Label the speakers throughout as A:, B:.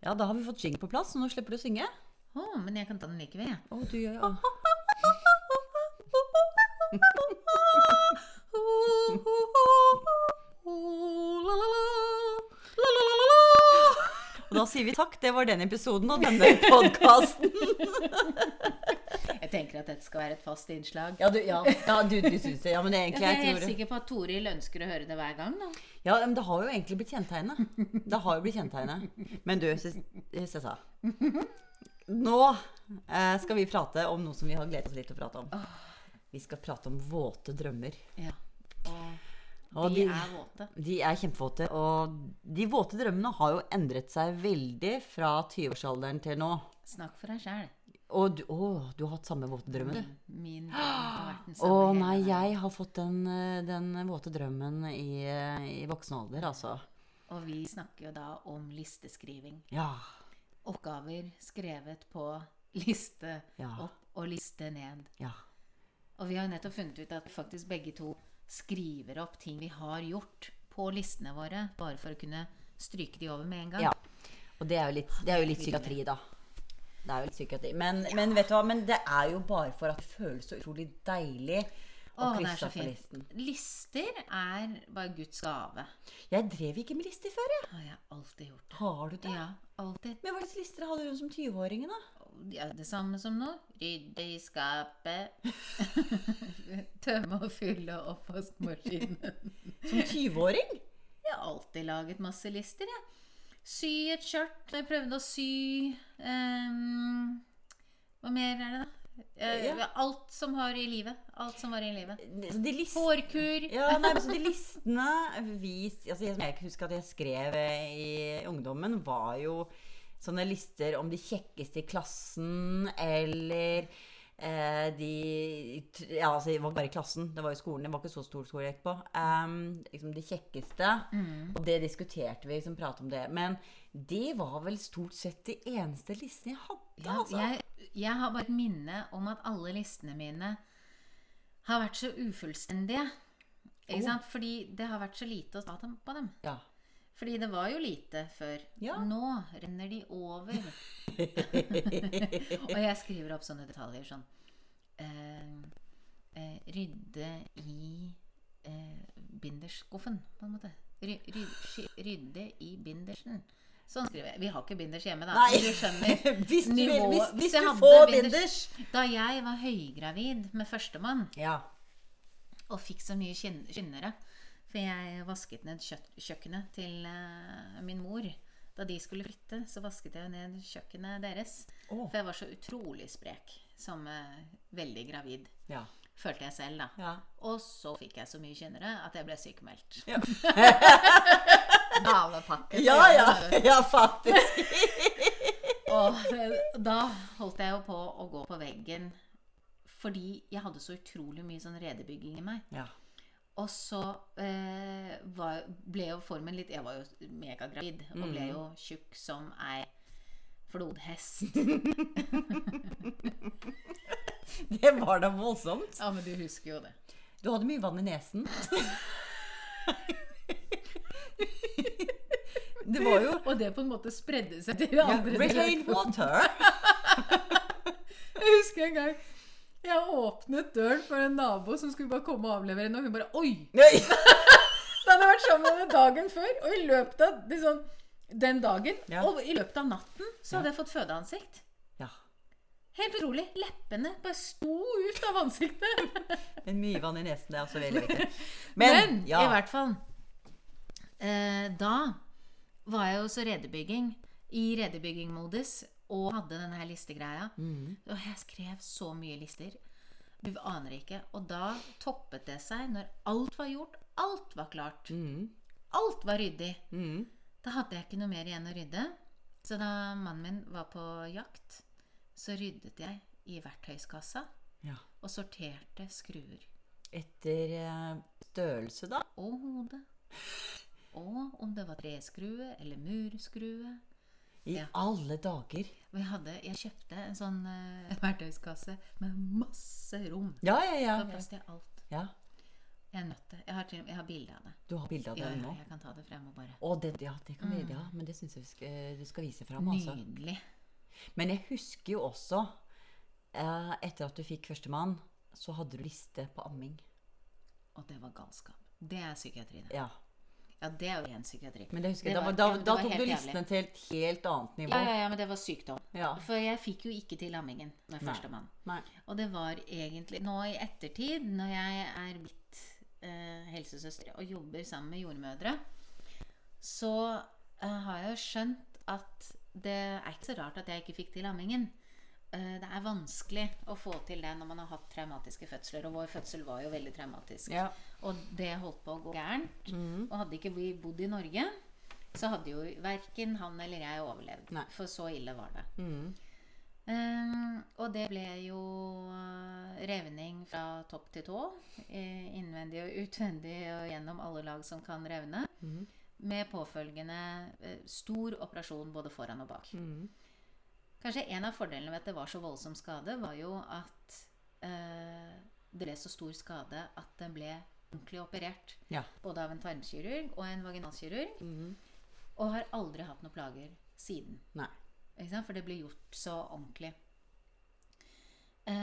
A: Ja, da har vi fått jingle på plass, så nå slipper du å synge.
B: Å, men jeg kan ta den likevel, jeg.
A: Å, du gjør ja. Og da sier vi takk. Det var den episoden og denne podkasten.
B: Jeg tenker at dette skal være et fast innslag.
A: Ja, du, ja, ja, du, du syns det. Ja, men det er
B: Jeg
A: egentlig
B: er
A: jeg
B: helt
A: tror
B: sikker på at Toril ønsker å høre det hver gang. da.
A: Ja, men det har jo egentlig blitt kjennetegnet. Det har jo blitt kjennetegnet. Men du, Ses- Sessa. Nå eh, skal vi prate om noe som vi har gledet oss litt til å prate om. Vi skal prate om våte drømmer.
B: Ja. Og
A: Og
B: de
A: de-
B: er våte.
A: De er kjempevåte, og de våte drømmene har jo endret seg veldig fra 20-årsalderen til nå.
B: Snakk for deg sjæl.
A: Og du, å, du har hatt samme våte drømme, du.
B: Min drøm har vært den
A: Å
B: samme hele
A: nei,
B: veien.
A: jeg har fått den, eh, den våte drømmen i, eh, i voksen alder, altså.
B: Og vi snakker jo da om listeskriving.
A: Ja.
B: Oppgaver skrevet på liste
A: Ja.
B: opp og liste ned.
A: Ja.
B: Og vi har jo nettopp funnet ut at faktisk begge to skriver opp ting vi har gjort på listene våre, bare for å kunne stryke de over med en gang.
A: ja. Og det er jo litt, det er jo litt psykiatri, da. Det er jo litt psykiatri. Men, men vet du hva, men det er jo bare for at det føles så utrolig deilig å
B: Å, det er
A: krysse
B: så
A: av på
B: fint.
A: listen.
B: Lister er bare Guds gave.
A: Jeg drev ikke med lister før, jeg.
B: Har jeg alltid gjort.
A: Har du det?
B: Ja, alltid.
A: Men hva slags lister hadde du som 20-åringen, da?
B: Ja, det samme som nå. Rydde i skapet. Tømme og fylle oppvaskmaskinen.
A: Som 20-åring?
B: Jeg har alltid laget masse lister, jeg. Sy et skjørt. Jeg prøvde å sy ehm, Hva mer er det, da? Eh,
A: Ja.
B: Alt som har i livet. Alt som var i livet.
A: Så de list-
B: Hårkur.
A: Ja, nei, men så de listene vi altså, jeg- Jeg husker at jeg skrev eh, i ungdommen, var jo sånne lister om de kjekkeste i klassen, eller eh, de Ja, altså, det var ikke bare i klassen, det var jo skolen. Det var ikke så stor skole jeg gikk på. Ehm, liksom de kjekkeste.
B: Mm.
A: Og det diskuterte vi, som pratet om det. Men det var vel stort sett de eneste listene jeg hadde,
B: Ja,
A: altså.
B: jeg, jeg har bare et minne om at alle listene mine har vært så ufullstendige. Ikke
A: Oh.
B: sant? Fordi det har vært så lite å ta dem på dem.
A: Ja.
B: Fordi det var jo lite før.
A: Ja.
B: Nå renner de over. Og jeg skriver opp sånne detaljer sånn eh, eh, Rydde i eh, bindersskuffen, på en måte. Ry, ry, sk- rydde i bindersen. Sånn skriver jeg. Vi har ikke binders hjemme, da.
A: Nei.
B: men Du skjønner.
A: Hvis du, vil,
B: nivået-
A: hvis,
B: Hvis
A: hvis
B: jeg
A: du
B: hadde
A: får
B: binders-
A: binders.
B: Da jeg var høygravid med førstemann
A: Ja.
B: og fikk så mye kinn- skinnere For jeg vasket ned kjøtt, kjøkkenet til eh, min mor. Da de skulle flytte, så vasket jeg ned kjøkkenet deres.
A: Å.
B: For jeg var så utrolig sprek som eh, veldig gravid.
A: Ja.
B: Følte jeg selv, da.
A: ja.
B: Og så fikk jeg så mye skinnere at jeg ble sykemeldt.
A: Ja.
B: Gavepakke.
A: Ja, ja, ja, faktisk.
B: Og eh, da holdt jeg jo på å gå på veggen fordi jeg hadde så utrolig mye sånn redebygging i meg.
A: Ja.
B: Og så eh, var, ble jo formen litt Jeg var jo megagravid og ble jo tjukk som ei flodhest.
A: Det var da voldsomt.
B: Ja, men du husker jo det.
A: Du hadde mye vann i nesen. Det var jo
B: Og det på en måte spredde seg til andre.
A: Retain water.
B: Jeg husker en gang jeg åpnet døren for en nabo som skulle bare komme og avlevere henne, og hun bare Oi!
A: Nei.
B: Det hadde vært sammen med henne dagen før, og i løpet av liksom, den dagen
A: Ja.
B: og i løpet av natten så hadde jeg fått fødeansikt.
A: Ja,
B: Helt utrolig. Leppene bare sto ut av ansiktet.
A: men mye vann i nesen, det er også veldig viktig.
B: Men,
A: ja.
B: i hvert fall eh, Da var jeg jo så redebygging, i redebyggingmodus, og hadde denne her listegreia.
A: Mhm.
B: Og jeg skrev så mye lister. Du aner ikke. Og da toppet det seg når alt var gjort, alt var klart,
A: Mhm.
B: alt var ryddig.
A: Mhm.
B: Da hadde jeg ikke noe mer igjen å rydde. Så da mannen min var på jakt, så ryddet jeg i verktøyskassa
A: ja.
B: og sorterte skruer.
A: Etter eh, størrelse, da?
B: Og hodet. Og om det var treskrue eller murskrue.
A: I
B: Ja.
A: alle dager.
B: Og jeg, hadde, jeg kjøpte en sånn eh, verktøyskasse med masse rom.
A: Ja, ja,
B: Det var
A: ja.
B: plass til alt.
A: ja.
B: Jeg er nødt til Jeg har, til- jeg har bilde av det.
A: Du har bilde av
B: Ja,
A: den
B: ja, Mm.
A: nå?
B: jeg kan ta det frem og bare
A: Å, det, ja, det kan vi, ja, men det syns jeg vi skal, du skal vise fram. Altså.
B: Nydelig.
A: Men jeg husker jo også, eh, etter at du fikk førstemann, så hadde du liste på amming.
B: Og det var galskap. Det er psykiatri, det.
A: Ja.
B: Ja, det er jo ren psykiatri.
A: Men det husker jeg,
B: Det
A: da,
B: var-
A: var- da,
B: ja, men det
A: da
B: var
A: tok
B: helt
A: du listene til et helt annet nivå.
B: ja, ja, ja, men det var sykdom.
A: Ja.
B: For jeg fikk jo ikke til ammingen
A: Nei.
B: med førstemann.
A: Nei.
B: Og det var egentlig nå i ettertid, når jeg er blitt eh, helsesøster og jobber sammen med jordmødre, så eh, har jeg jo skjønt at det er ikke så rart at jeg ikke fikk til ammingen. Eh, det er vanskelig å få til det når man har hatt traumatiske fødsler. Og vår fødsel var jo veldig traumatisk.
A: Ja.
B: Og det holdt på å gå gærent. Og hadde ikke vi bodd i Norge, så hadde jo verken han eller jeg overlevd.
A: Nei.
B: For så ille var det.
A: Mm.
B: Ehm, og det ble jo eh, revning fra topp til tå. eh, Innvendig og utvendig og gjennom alle lag som kan revne.
A: Mhm.
B: Med påfølgende eh, stor operasjon både foran og bak.
A: Mm.
B: Kanskje en av fordelene ved at det var så voldsom skade, var jo at eh, det ble så stor skade at den ble ordentlig operert.
A: Ja.
B: Både av en tarmkirurg og en vaginalkirurg.
A: Mhm.
B: Og har aldri hatt noen plager siden.
A: Nei.
B: Ikke sant? For det blir gjort så ordentlig.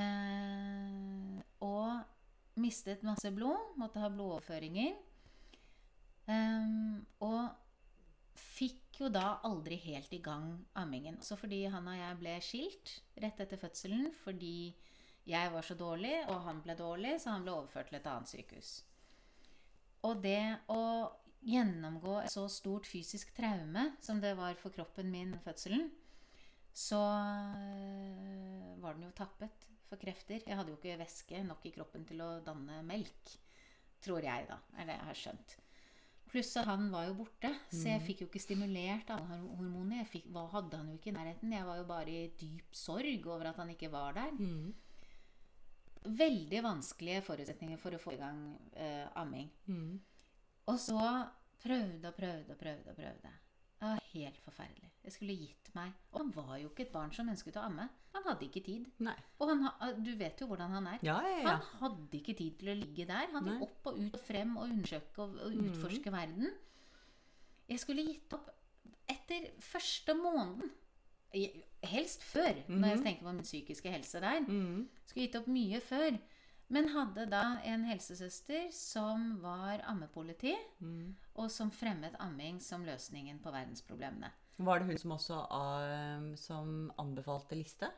B: Eh, og mistet masse blod, måtte ha blodoverføringer. Ehm, og fikk jo da aldri helt i gang ammingen. Også fordi han og jeg ble skilt rett etter fødselen fordi jeg var så dårlig, og han ble dårlig, så han ble overført til et annet sykehus. Og det å gjennomgå et så stort fysisk traume som det var for kroppen min fødselen, så øh, var den jo tappet for krefter. Jeg hadde jo ikke væske nok i kroppen til å danne melk. Tror jeg, da. Er det jeg har skjønt. Pluss at han var jo borte, så jeg fikk jo ikke stimulert alle horm- hormonene. Jeg fikk, hva hadde han jo ikke i nærheten. Jeg var jo bare i dyp sorg over at han ikke var der.
A: Mm.
B: Veldig vanskelige forutsetninger for å få i gang eh, amming.
A: Mm.
B: Og så prøvde og prøvde og prøvde. og prøvde. Det var helt forferdelig. Jeg skulle gitt meg. Og han var jo ikke et barn som ønsket å amme. Han hadde ikke tid.
A: Nei.
B: Og han, ha- du vet jo hvordan han er.
A: Ja, ja, ja.
B: Han hadde ikke tid til å ligge der. Han
A: Nei. Mm.
B: ville opp og ut og frem og undersøke og, og utforske verden. Jeg skulle gitt opp etter første måneden. Jeg- Helst før, når
A: Mhm.
B: jeg tenker på min psykiske helse der.
A: Mm.
B: Skulle gitt opp mye før. Men hadde da en helsesøster som var ammepoliti,
A: Mm.
B: og som fremmet amming som løsningen på verdensproblemene.
A: Var det hun som også eh, som anbefalte liste?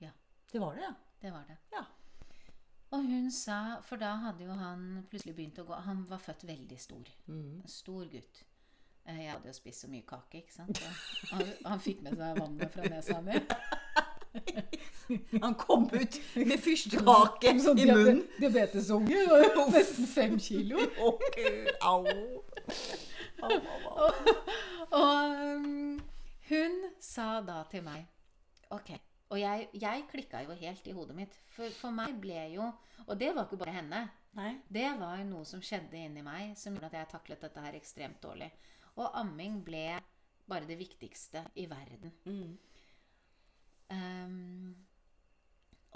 B: Ja.
A: Det var det, ja.
B: Det var det.
A: Ja.
B: Og hun sa For da hadde jo han plutselig begynt å gå Han var født veldig stor.
A: Mm.
B: En stor gutt. Eh, Jeg hadde jo spist så mye kake, ikke sant. Og han, han fikk med seg vannet fra nesa mi.
A: Han kom ut med fyrstekake i munnen.
B: Diabetesunge. var jo Nesten fem kilo.
A: Å, Gud, au. Au, au, au.
B: Og um, hun sa da til meg Ok. Og jeg, jeg klikka jo helt i hodet mitt. For, for meg ble jo Og det var ikke bare henne.
A: Nei.
B: Det var noe som skjedde inni meg som gjorde at jeg taklet dette her ekstremt dårlig. Og amming ble bare det viktigste i verden.
A: Mm.
B: Ehm,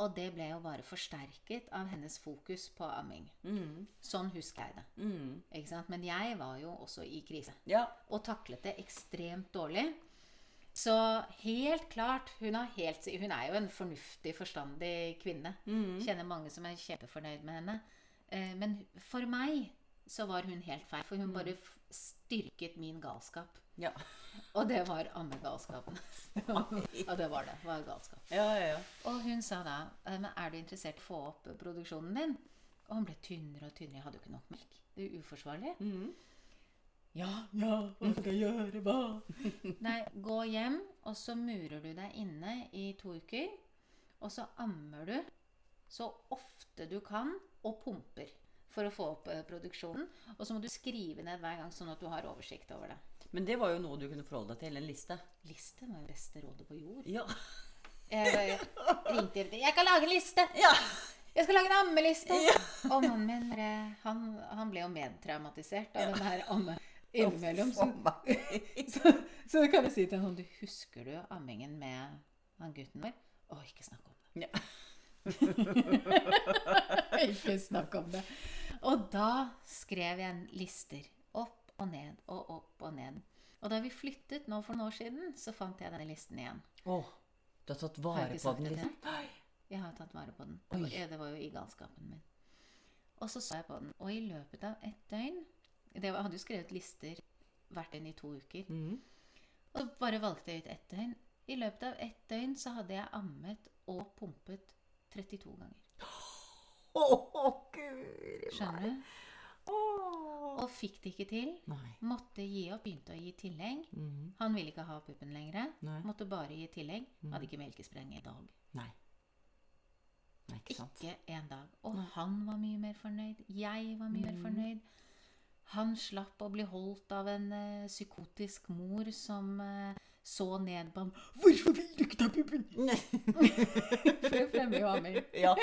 B: og det ble jo bare forsterket av hennes fokus på amming.
A: Mm.
B: Sånn husker jeg det.
A: Mm.
B: Ikke sant? Men jeg var jo også i krise
A: Ja.
B: og taklet det ekstremt dårlig. Så helt klart hun, har helt, hun er jo en fornuftig, forstandig kvinne.
A: Mm.
B: Kjenner mange som er kjempefornøyd med henne. Eh, Men for meg så var hun helt feil, for hun bare f- styrket min galskap.
A: Ja.
B: Og det var ammegalskapen. og det var det. det var galskap.
A: Ja, ja, ja.
B: Og hun sa da eh, Men er du interessert i å få opp produksjonen din? Og han ble tynnere og tynnere. Jeg hadde jo ikke nok melk. Det er jo uforsvarlig.
A: Mm.
B: Ja, ja, hva skal jeg gjøre, hva? Nei, gå hjem, og så murer du deg inne i to uker. Og så ammer du så ofte du kan, og pumper for å få opp eh, produksjonen. Og så må du skrive ned hver gang, sånn at du har oversikt over det.
A: Men det var jo noe du kunne forholde deg til, en liste.
B: Liste var jo beste rådet på jord.
A: Ja.
B: Jeg bare ringte hjem til Jeg kan lage en liste!
A: ja.
B: Jeg skal lage en ammeliste! Og mannen min bare- han, han ble jo medtraumatisert av den her amme innimellom. Så så, så kan vi si til ham du husker du ammingen med han gutten vår? Å, ikke snakk om det.
A: Ja.
B: ikke snakk om det. Og da skrev jeg lister opp og ned og opp og ned. Og da vi flyttet nå for noen år siden, så fant jeg denne listen igjen.
A: Åh, du har tatt
B: Har
A: vare
B: jeg ikke
A: på
B: sagt
A: den.
B: det til
A: Liksom. Nei.
B: Jeg har jo tatt vare på den. Det var,
A: Oi.
B: det var jo i galskapen min. Og så så jeg på den, og i løpet av ett døgn det var, Jeg hadde jo skrevet lister hvert døgn i to uker.
A: Mhm.
B: Og så bare valgte jeg ut ett døgn. I løpet av ett døgn så hadde jeg ammet og pumpet 32 ganger.
A: Å, guri meg.
B: Skjønner du?
A: Åh.
B: Og fikk det ikke til.
A: Nei.
B: Måtte gi opp. Begynte å gi tillegg.
A: Mhm.
B: Han ville ikke ha puppen lenger.
A: Nei.
B: Måtte bare gi tillegg.
A: Mm.
B: Hadde ikke melkespreng en dag.
A: Nei. Nei, ikke sant.
B: Ikke en dag. Og
A: Nei.
B: han var mye mer fornøyd. Jeg var mye mer
A: Mm.
B: fornøyd. Han slapp å bli holdt av en eh, psykotisk mor som eh, så ned på ham. 'Hvorfor vil du ikke ta puppen?' For det fremmer jo Amir.
A: ja,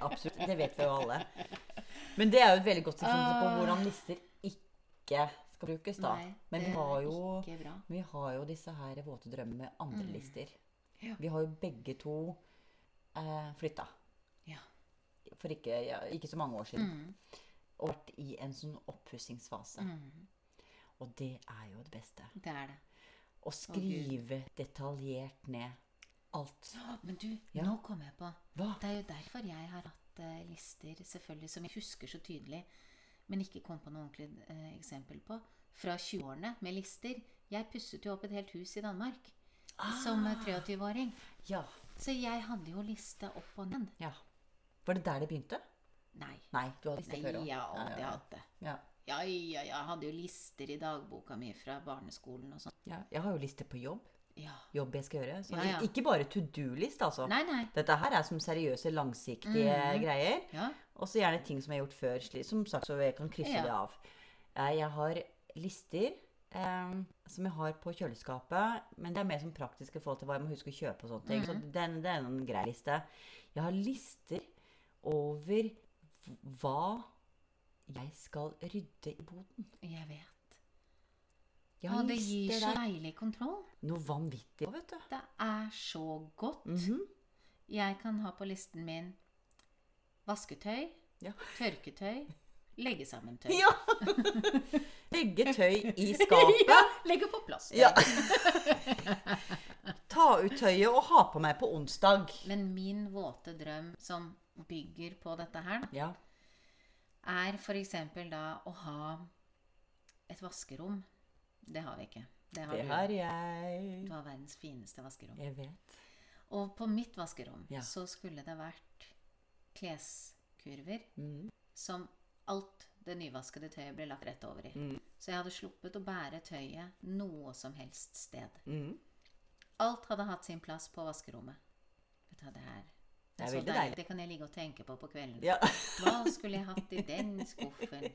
A: absolutt. Det vet vi jo alle. Men det er jo et veldig godt eksempel på
B: Ah.
A: hvordan lister ikke skal brukes, da.
B: Nei,
A: Men vi
B: det
A: har
B: er
A: jo
B: ikke bra.
A: Vi har jo disse her våte drømmene med andre
B: Mm.
A: lister.
B: Ja.
A: Vi har jo begge to eh, flytta
B: Ja.
A: for ikke, ja, ikke så mange år siden.
B: Mm,
A: Og vært i en sånn oppussingsfase.
B: mm,
A: Og det er jo det beste.
B: det er det.
A: Å skrive detaljert ned alt.
B: Å, Men du,
A: Ja.
B: nå kom jeg på.
A: Hva?
B: Det er jo derfor jeg har hatt eh, lister selvfølgelig som jeg husker så tydelig, men ikke kom på noe ordentlig eh, eksempel på. Fra 20-årene med lister. Jeg pusset jo opp et helt hus i Danmark som
A: Ah.
B: eh, 23-åring.
A: Ja.
B: Så jeg hadde jo liste opp og ned.
A: ja. Var det der det begynte?
B: Nei.
A: Nei, du hadde liste
B: Nei,
A: før også.
B: jeg har aldri
A: ja,
B: hatt det.
A: ja.
B: Ja, ja, ja. Jeg hadde jo lister i dagboka mi fra barneskolen og sånn.
A: ja. Jeg har jo liste på jobb.
B: Ja.
A: Jobb jeg skal gjøre. Så
B: Ja, ja.
A: Ikke bare to do-list, altså.
B: Nei, nei.
A: Dette her er som seriøse, langsiktige
B: Mhm.
A: greier.
B: Ja.
A: Og så gjerne ting som jeg har gjort før, sli- som sagt, så jeg kan krysse
B: Ja.
A: det av. Eh, Jeg har lister eh, som jeg har på kjøleskapet, men det er mer som praktisk i forhold til hva jeg må huske å kjøpe og sånne ting.
B: Mm.
A: Så den, det er en grei liste. Jeg har lister over v- hva jeg skal rydde i boden.
B: Jeg vet.
A: Jeg
B: Å,
A: har
B: det gir
A: lister
B: så
A: der.
B: deilig kontroll.
A: Noe vanvittig, vet du.
B: Det er så godt.
A: Mhm.
B: Jeg kan ha på listen min vasketøy,
A: Ja.
B: tørketøy, legge sammen tøy.
A: Ja! Legge tøy i skapet.
B: Legge på plass. tøy.
A: Ja. Ta ut tøyet og ha på meg på onsdag.
B: Men min våte drøm som bygger på dette her, da,
A: Ja.
B: er f.eks. da å ha et vaskerom. Det har vi ikke. Det har
A: Det
B: du.
A: har
B: Du
A: jeg.
B: har verdens fineste vaskerom.
A: Jeg vet.
B: Og på mitt vaskerom
A: Ja.
B: så skulle det vært kleskurver
A: Mm.
B: som alt det nyvaskede tøyet ble lagt rett over i.
A: Mm.
B: Så jeg hadde sluppet å bære tøyet noe som helst sted.
A: Mm.
B: Alt hadde hatt sin plass på vaskerommet. Vet du hva det her
A: Det er
B: så
A: veldig deilig.
B: Det kan jeg ligge og tenke på på kvelden.
A: Ja.
B: Hva skulle jeg hatt i den skuffen?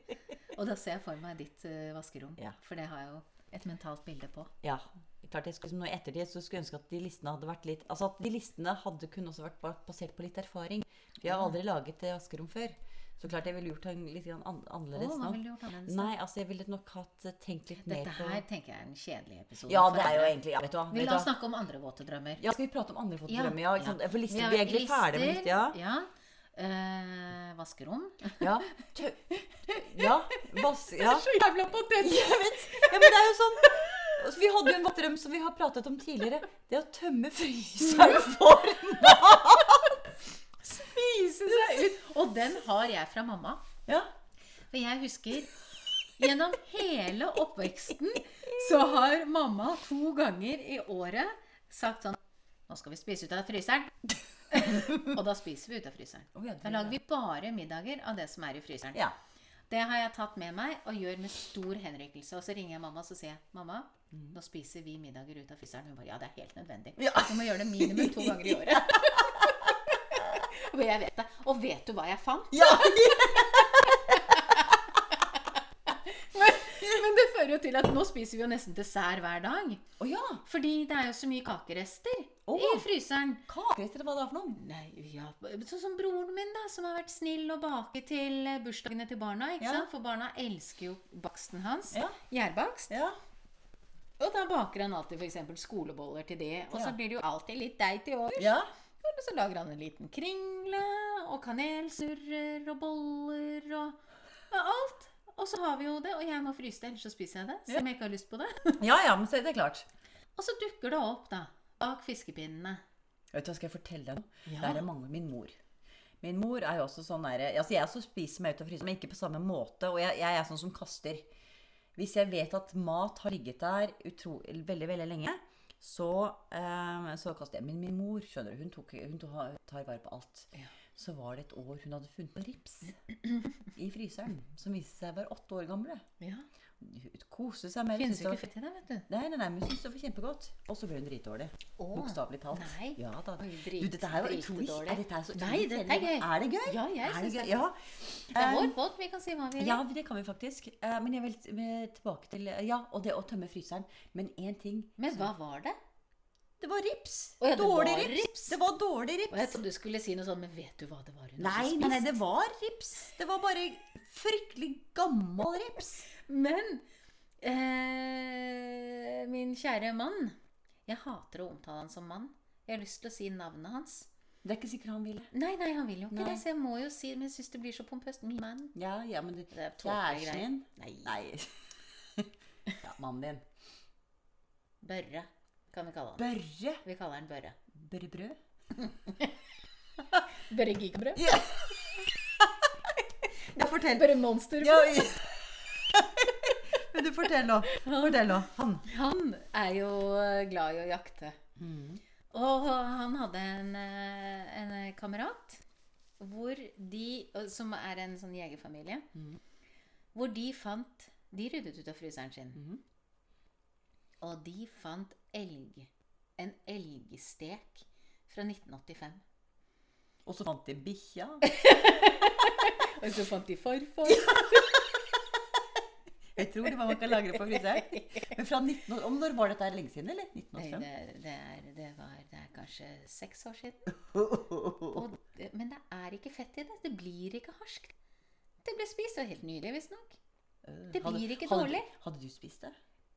B: Og da ser jeg for meg ditt eh, vaskerom,
A: Ja.
B: for det har jeg jo et mentalt bilde på.
A: ja. Klart jeg skulle, nå i ettertid så skulle jeg ønske at de listene hadde vært litt Altså at de listene hadde kunne også vært ba- basert på litt erfaring. For jeg har aldri laget eh, vaskerom før. Så klart jeg ville gjort det litt grann an
B: Å,
A: annerledes
B: hva
A: nå.
B: ville du gjort annerledes? da?
A: Nei, altså jeg ville nok hatt eh, tenkt litt mer
B: Dette
A: på
B: her tenker jeg er en kjedelig episode.
A: Ja,
B: for
A: det er jo
B: andre.
A: egentlig ja, Vet du hva.
B: Vi
A: Vet
B: la
A: du
B: oss
A: hva?
B: snakke om andre våte drømmer.
A: Ja, skal vi prate om andre fått
B: Ja,
A: drømmer? Ja, ikke
B: ja.
A: sant? For lister,
B: har
A: vi er egentlig ferdig med lister. Ja.
B: ja. Eh, vaskerom.
A: Ja. Tø ja. Vass... Ja.
B: så jævla patent!
A: Jeg vet! Ja, men det er jo sånn Altså, Vi hadde jo en drøm som vi har pratet om tidligere. Det å tømme fryseren for
B: Spise seg ut! Og den har jeg fra mamma.
A: Ja.
B: For jeg husker Gjennom hele oppveksten så har mamma to ganger i året sagt sånn Nå skal vi spise ut av fryseren. Og da spiser vi ut av fryseren.
A: Å, ja, det
B: Da
A: gjør
B: lager vi bare middager av det som er i fryseren.
A: ja.
B: Det har jeg tatt med meg og gjør med stor henrykkelse. Og så ringer jeg mamma og så sier jeg, mamma, nå spiser vi middager ut av fryseren. Hun bare ja, det er helt nødvendig.
A: Mm. Ja.
B: Du må gjøre det minimum to ganger i året. og jeg vet det. Og vet du hva jeg fant?
A: Ja!
B: Men det fører jo til at nå spiser vi jo nesten dessert hver dag.
A: Å ja!
B: Fordi det er jo så mye kakerester
A: Å.
B: i fryseren.
A: Kakerester, eller hva det er for noe?
B: Nei, ja, Sånn som broren min, da, som har vært snill og baket til eh, bursdagene til barna. ikke
A: Ja.
B: sant? For barna elsker jo baksten hans.
A: Ja.
B: Gjærbakst.
A: Ja.
B: Og da baker han alltid for eksempel skoleboller til det, og så
A: Ja.
B: blir det jo alltid litt deig til overs.
A: ja.
B: Og så lager han en liten kringle og kanelsnurrer og boller og Ja, Alt. Og så har vi jo det, og jeg må fryse det, ellers så spiser jeg det. Selv om jeg ikke har lyst på det.
A: Ja, ja, men så er det klart.
B: Og så dukker det opp, da. Bak fiskepinnene.
A: Vet du hva, skal jeg fortelle deg noe?
B: Ja.
A: Det er det mange Min mor. Min mor er jo også sånn der, altså Jeg også spiser meg ut av fryseren, men ikke på samme måte. Og jeg, jeg er sånn som kaster. Hvis jeg vet at mat har ligget der utro, veldig veldig lenge, så, eh, så kaster jeg. Men min mor skjønner du, hun, tok, hun tar- tar vare på alt.
B: Ja.
A: Så var det et år hun hadde funnet en rips i fryseren, som viste seg å være åtte år gamle.
B: Ja.
A: Hun koste seg med det. syntes
B: Finnes
A: det
B: jo
A: var-
B: ikke fett i det, vet du.
A: Nei, nei, nei, men hun syntes det var kjempegodt. Og så ble hun dritdårlig.
B: Åh.
A: Bokstavelig talt.
B: Nei.
A: Ja, da.
B: Oi,
A: du,
B: drit-
A: dette her var utrolig
B: dritdårlig.
A: er dette her så utrolig
B: Nei, dette er
A: spennende?
B: gøy.
A: Er det gøy?
B: Ja, jeg
A: er det
B: syns
A: gøy?
B: det.
A: Ja.
B: Det er
A: Um,
B: vår båt, vi kan si hva vi vil.
A: ja, det kan vi faktisk. Eh, Men jeg vil eh, tilbake til eh, Ja, og det å tømme fryseren. Men én ting
B: Men hva var det?
A: Det var rips!
B: Å ja, det
A: dårlig
B: var
A: rips.
B: rips.
A: Det var dårlig
B: Og jeg
A: rips.
B: trodde du skulle si noe sånn, men vet du hva det var hun hadde
A: Nei, nei,
B: spist?
A: nei, det var rips. Det var bare fryktelig gammel rips.
B: Men eh, min kjære mann Jeg hater å omtale han som mann. Jeg har lyst til å si navnet hans.
A: Det er ikke sikkert han ville.
B: Nei, nei, han vil jo ikke
A: Nei.
B: det, så jeg må jo si Men jeg syns det blir så pompøst. Min mann.
A: Ja, ja, men det,
B: Det er tåpelige
A: Kjæresten
B: greier.
A: din?
B: Nei.
A: Nei. Ja, mannen din.
B: Børre kan vi kalle han.
A: Børre.
B: Vi kaller han Børre.
A: Børre brød?
B: Børre Gigabrød?
A: Ja. Ja, fortell.
B: Børre Monster?
A: Ja, i- Men du, fortell nå. Fortell nå. Han.
B: Han er jo eh, glad i å jakte.
A: Mm,
B: Og han hadde en, eh, en kamerat hvor de, som er en sånn jegerfamilie,
A: Mhm.
B: hvor de fant De ryddet ut av fryseren sin.
A: Mhm.
B: Og de fant elg. En elgstek fra 1985.
A: Og så fant de bikkja.
B: Og så fant de farfar.
A: Jeg tror det var man kan lagre på fryseren. Men fra 19 år, om når var dette her lenge siden, eller?
B: Nei,
A: 1985?
B: det, det, er, det, var, det er kanskje seks år siden. Og, det- men det er ikke fett i det. Det blir ikke harskt. Det ble spist, og helt nydelig visstnok.
A: Øh,
B: det
A: hadde-
B: blir ikke
A: hadde-
B: dårlig.
A: Hadde du spist det?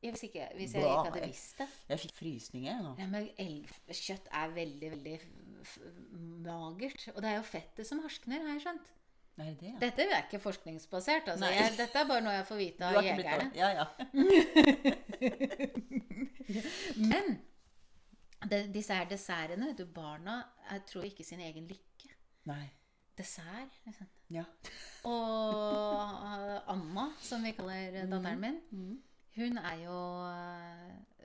B: Ja, Hvis, ikke, hvis jeg ikke
A: Nei.
B: hadde visst det.
A: Jeg fikk frysninger jeg, nå.
B: Nei, men Elgkjøtt er veldig, veldig f- f- magert. Og det er jo fettet som harskner, har jeg skjønt.
A: Er det det? Ja.
B: Dette er ikke forskningsbasert. Altså.
A: Nei.
B: Jeg, dette er bare noe jeg får vite
A: Du
B: av
A: har ikke blitt
B: jegerne.
A: dårlig. Ja, ja.
B: Men det, disse her dessertene vet du, Barna jeg tror ikke sin egen lykke.
A: Nei.
B: Dessert. liksom.
A: Ja.
B: Og eh, Anna, som vi kaller eh, datteren min,
A: Mhm.
B: hun er jo,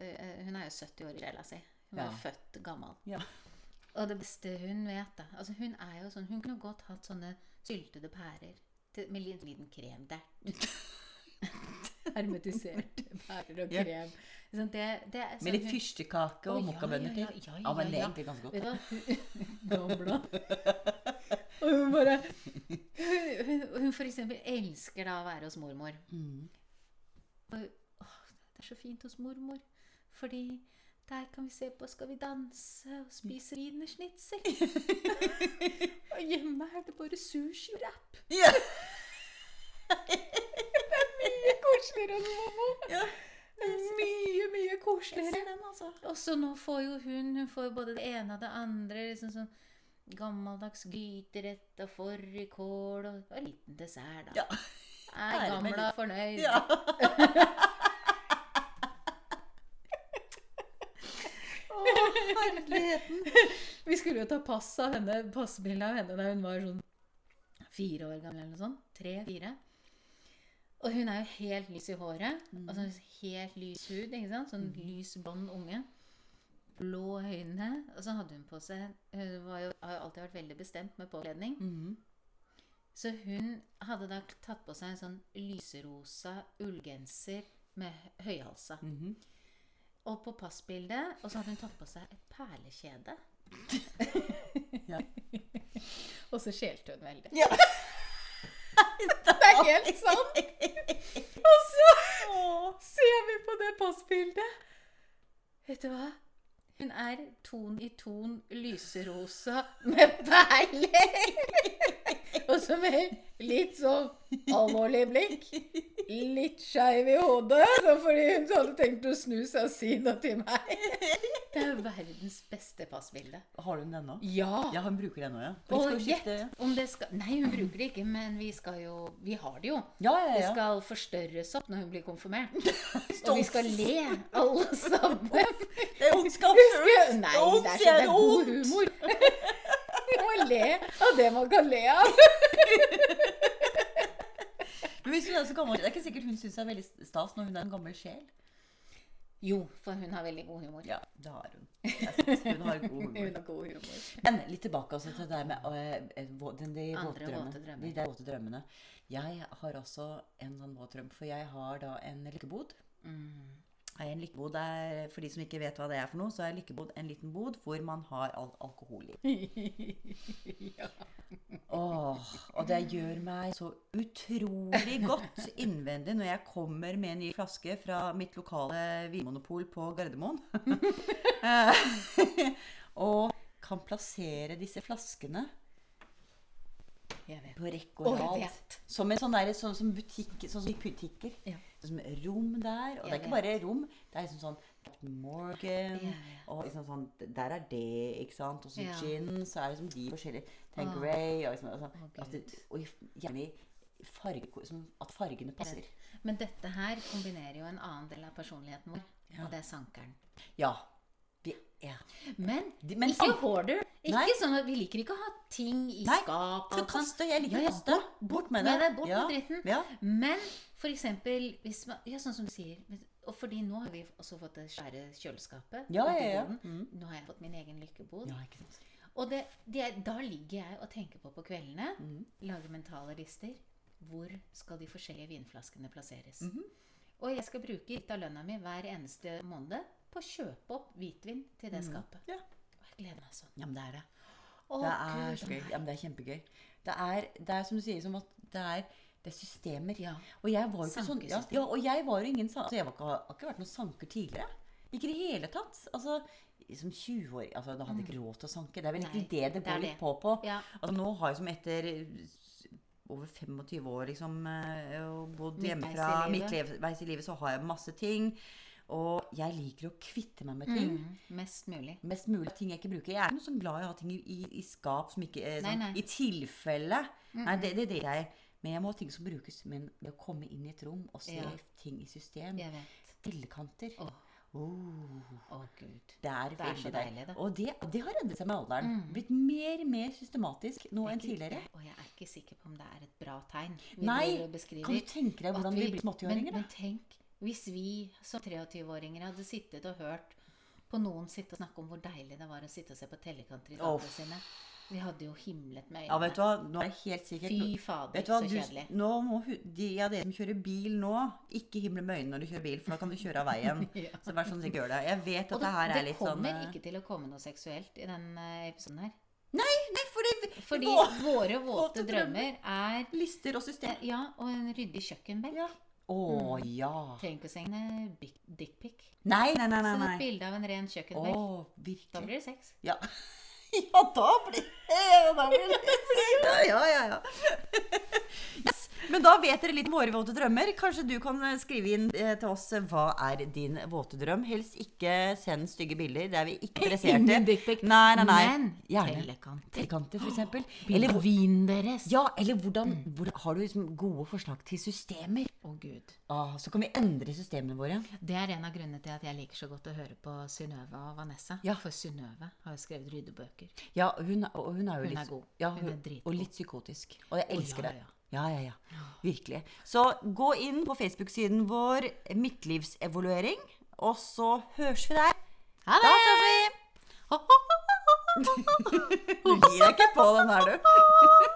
B: eh, eh, hun er jo 70 år i sjela si. Hun var
A: Ja.
B: jo født gammel.
A: Ja.
B: Og det beste hun vet, da altså Hun er jo sånn, hun kunne godt hatt sånne syltede pærer til, med litt liten krem der. Hermetiserte pærer og
A: Ja.
B: krem. Sånn, det, det er sånn
A: Med litt
B: hun-
A: fyrstekake og
B: Å, ja,
A: mokkabønner
B: ja,
A: til.
B: ja, ja,
A: Ja, men det er
B: ja, ja.
A: egentlig ganske godt.
B: Vet du hva? Gamla. Og hun bare Hun, hun, hun for eksempel elsker da å være hos mormor.
A: Mhm.
B: Og, åh, det er så fint hos mormor, fordi der kan vi se på Skal vi danse og spise wienerschnitzel. og hjemme er det bare sushi og wrap.
A: Ja.
B: Mye koseligere enn mormor.
A: Ja.
B: Mye, mye
A: Jeg
B: koseligere.
A: ser den, altså.
B: Og så nå får jo hun Hun får jo både det ene og det andre. liksom sånn Gammeldags gryterett og fårikål og, og en liten dessert, da.
A: Ja.
B: Er
A: Ære med
B: gamla fornøyd.
A: Ja. Å, herligheten.
B: Vi skulle jo ta pass av henne, passbilde av henne da hun var sånn fire år gammel eller noe sånt. Tre-fire. Og hun er jo helt lys i håret. Altså helt lys hud, ikke sant? Sånn lys blond unge. Blå øyne. Og så hadde hun på seg Hun var jo, har jo alltid vært veldig bestemt med påkledning.
A: Mhm.
B: Så hun hadde da tatt på seg en sånn lyserosa ullgenser med hø- høyhalsa.
A: Mhm.
B: Og på passbildet Og så hadde hun tatt på seg et perlekjede.
A: Ja.
B: og så skjelte hun veldig.
A: Ja.
B: Det er helt sant! Og så ser vi på det passbildet. Vet du hva? Hun er ton i ton lyserosa med perler! Og så med litt sånn alvorlig blikk. Litt skeiv i hodet, så fordi hun hadde tenkt å snu seg og si noe til meg. Det er jo verdens beste passbilde.
A: Har du den ennå?
B: Ja!
A: Ja, han bruker den nå, ja. For vi
B: Og
A: skal jo
B: gjett
A: skifte-
B: om det skal Nei, hun bruker det ikke, men vi skal jo Vi har det jo.
A: Ja, ja,
B: Det
A: ja.
B: skal forstørres opp når hun blir konfirmert. Og vi skal le, alle sammen.
A: Det er ondskap
B: Nei, det er, så, det er god humor. Vi må le av det man kan le av.
A: Men hvis hun er så gammel, det er ikke sikkert hun syns det er veldig stas når hun er en gammel sjel.
B: Jo, for hun har veldig god humor.
A: Ja, det har hun. Jeg synes hun har god humor.
B: Hun har god humor.
A: Men litt tilbake også til det der med øh, øh, vå- den, de,
B: Andre
A: våte drømmene.
B: våte drømmer.
A: de der våte drømmene. Jeg har også en sånn våt drøm, for jeg har da en lykkebod.
B: Mm.
A: En lykkebod er, For de som ikke vet hva det er for noe, så er lykkebod en liten bod hvor man har al alkohol i.
B: Ja.
A: Åh, og det gjør meg så utrolig godt innvendig når jeg kommer med en ny flaske fra mitt lokale vinmonopol på Gardermoen. Eh, og kan plassere disse flaskene
B: Jeg vet.
A: på rekke og
B: Å, jeg
A: rad.
B: vet.
A: Som en sånn, der, sånn som butikk, sånn som i butikker.
B: Ja.
A: Sånn som rom der, og det er
B: Jeg
A: ikke bare rom. Det er liksom sånn Captain Morgan,
B: Ja, ja.
A: og liksom sånn Der er det, ikke sant. Og så
B: Ja.
A: gin, så er liksom de forskjellige
B: Ah.
A: Tangeray og liksom og sånn,
B: Å,
A: at det, Og i- gjerne i farge, som, at fargene passer.
B: Men dette her kombinerer jo en annen del av personligheten vår, og det er sankeren.
A: Ja. Vi er
B: Men,
A: De- men
B: ikke
A: sank-
B: hoarder. Ikke
A: Nei.
B: sånn at vi liker ikke å ha ting i
A: Nei,
B: skap.
A: Skal
B: og sånn.
A: kaste, Ah, jeg liker
B: Ja, ja,
A: å kaste. Bort, med det.
B: med det, bort
A: ja.
B: med dritten.
A: Ja.
B: Men for eksempel hvis man, ja, sånn som du sier, hvis- og fordi nå har vi også fått det svære kjøleskapet.
A: Ja,
B: ute i
A: ja, ja. Mm.
B: boden. Mm. Nå har jeg fått min egen lykkebod.
A: ja, ikke sant.
B: Og det, det er, da ligger jeg og tenker på på kveldene,
A: Mhm.
B: lager mentale lister. Hvor skal de forskjellige vinflaskene plasseres?
A: Mhm.
B: Og jeg skal bruke litt av lønna mi hver eneste måned på å kjøpe opp hvitvin til det skapet.
A: Mhm. Ja.
B: Og jeg gleder meg sånn.
A: ja, men det er det.
B: Å,
A: Det er
B: Gud,
A: så
B: å
A: gøy.
B: nei.
A: Ja, men det er kjempegøy. Det er, det er som du sier, som at det er, det er systemer.
B: Ja.
A: Og jeg var jo ikke sånn ja,
B: Sankesystem.
A: ja, og jeg var jo ingen sa- altså, jeg var ikke, har ikke vært noen sanker tidligere. Ikke i det hele tatt. Altså, som 20-åring altså, Da hadde jeg ikke råd til å sanke. Det er vel
B: Mm. Nei,
A: egentlig det det
B: det er
A: går litt
B: det.
A: på på.
B: Ja.
A: Altså, nå har jeg som etter s- over 25 år liksom, eh, og bodd
B: Midtveis i
A: hjemmefra,
B: livet.
A: midtveis i livet, så har jeg masse ting. Og jeg liker å kvitte meg med ting.
B: Mm, mest mulig.
A: Mest mulig ting jeg ikke bruker. Jeg er ikke noe sånn glad i å ha ting i, i, i skap som ikke eh,
B: Nei,
A: sånn,
B: nei.
A: I tilfelle. Nei, det, det driter jeg i. Men jeg må ha ting som brukes. Men det å komme inn i et rom og se
B: Ja.
A: ting i system
B: Mm. Jeg vet.
A: Stillekanter.
B: Åh,
A: Oh,
B: åh, Gud.
A: det er,
B: Det er så
A: veldig deilig.
B: deilig, det. Mm.
A: Og det, det har endret seg med alderen. Blitt mer mer systematisk nå enn
B: Jeg er ikke-
A: tidligere.
B: Og jeg er ikke sikker på om det er et bra tegn. vi
A: Nei!
B: driver og beskriver.
A: Kan du tenke deg
B: At
A: hvordan vi blir
B: men,
A: småttiåringer?
B: men tenk hvis vi som 23-åringer hadde sittet og hørt på noen sitte og snakke om hvor deilig det var å sitte og se på tellekanter i
A: Åh.
B: dagene sine. Vi hadde jo himlet med øynene.
A: Ja, vet du hva? Nå er det helt sikkert
B: Fy fader,
A: Vet du hva,
B: så
A: du,
B: kjedelig.
A: nå må hu- de av dere som kjører bil nå, ikke himle med øynene når du kjører bil, for da kan du kjøre av veien.
B: Ja.
A: Så vær sånn at du ikke gjør det. Jeg vet at
B: Og
A: det, her
B: det
A: er litt sånn
B: kommer
A: eh,
B: ikke til å komme noe seksuelt i denne episoden her.
A: Nei, for det
B: Fordi
A: Vå-
B: våre
A: våte
B: våte drømmer er eh,
A: lister og system.
B: Ja, og en ryddig kjøkkenbenk.
A: Ja. Å
B: Mm.
A: ja.
B: Trenger ikke å sende dickpic.
A: Nei, nei, nei. nei,
B: Send et
A: nei.
B: bilde av en ren
A: Å,
B: kjøkkenbenk. Da
A: virkelig.
B: blir det sex.
A: Ja. ja, da blir ja, da blir det Ja, ja, ja. ja. Yes. Men da vet dere litt om våre våte drømmer. Kanskje du kan eh, skrive inn eh, til oss eh, hva er din våte drøm. Helst ikke send stygge bilder. Det er vi ikke interessert i.
B: Ingen dickpic.
A: Nei, nei, nei.
B: Men
A: Gjerne
B: tellekanter.
A: trekanter, for eksempel.
B: Eller
A: Eller, hvor-
B: vin deres.
A: ja, eller hvordan,
B: Mm.
A: hvordan Har du liksom gode forslag til systemer?
B: Å, gud.
A: Ah, så kan vi endre systemene våre.
B: Det er en av grunnene til at jeg liker så godt å høre på Synnøve og Vanessa.
A: Ja.
B: For Synnøve har jo skrevet ryddebøker.
A: Ja, hun, og hun er jo
B: Hun
A: litt
B: er god.
A: Ja,
B: Hun
A: hun,
B: er dritgod.
A: og litt psykotisk. Og jeg
B: Å,
A: elsker
B: ja,
A: det. Ja, ja, ja. Virkelig. Så gå inn på Facebook-siden vår Midtlivsevaluering, og så høres vi der.
B: Ha
A: Da ses vi! Du gir deg ikke på den her, du.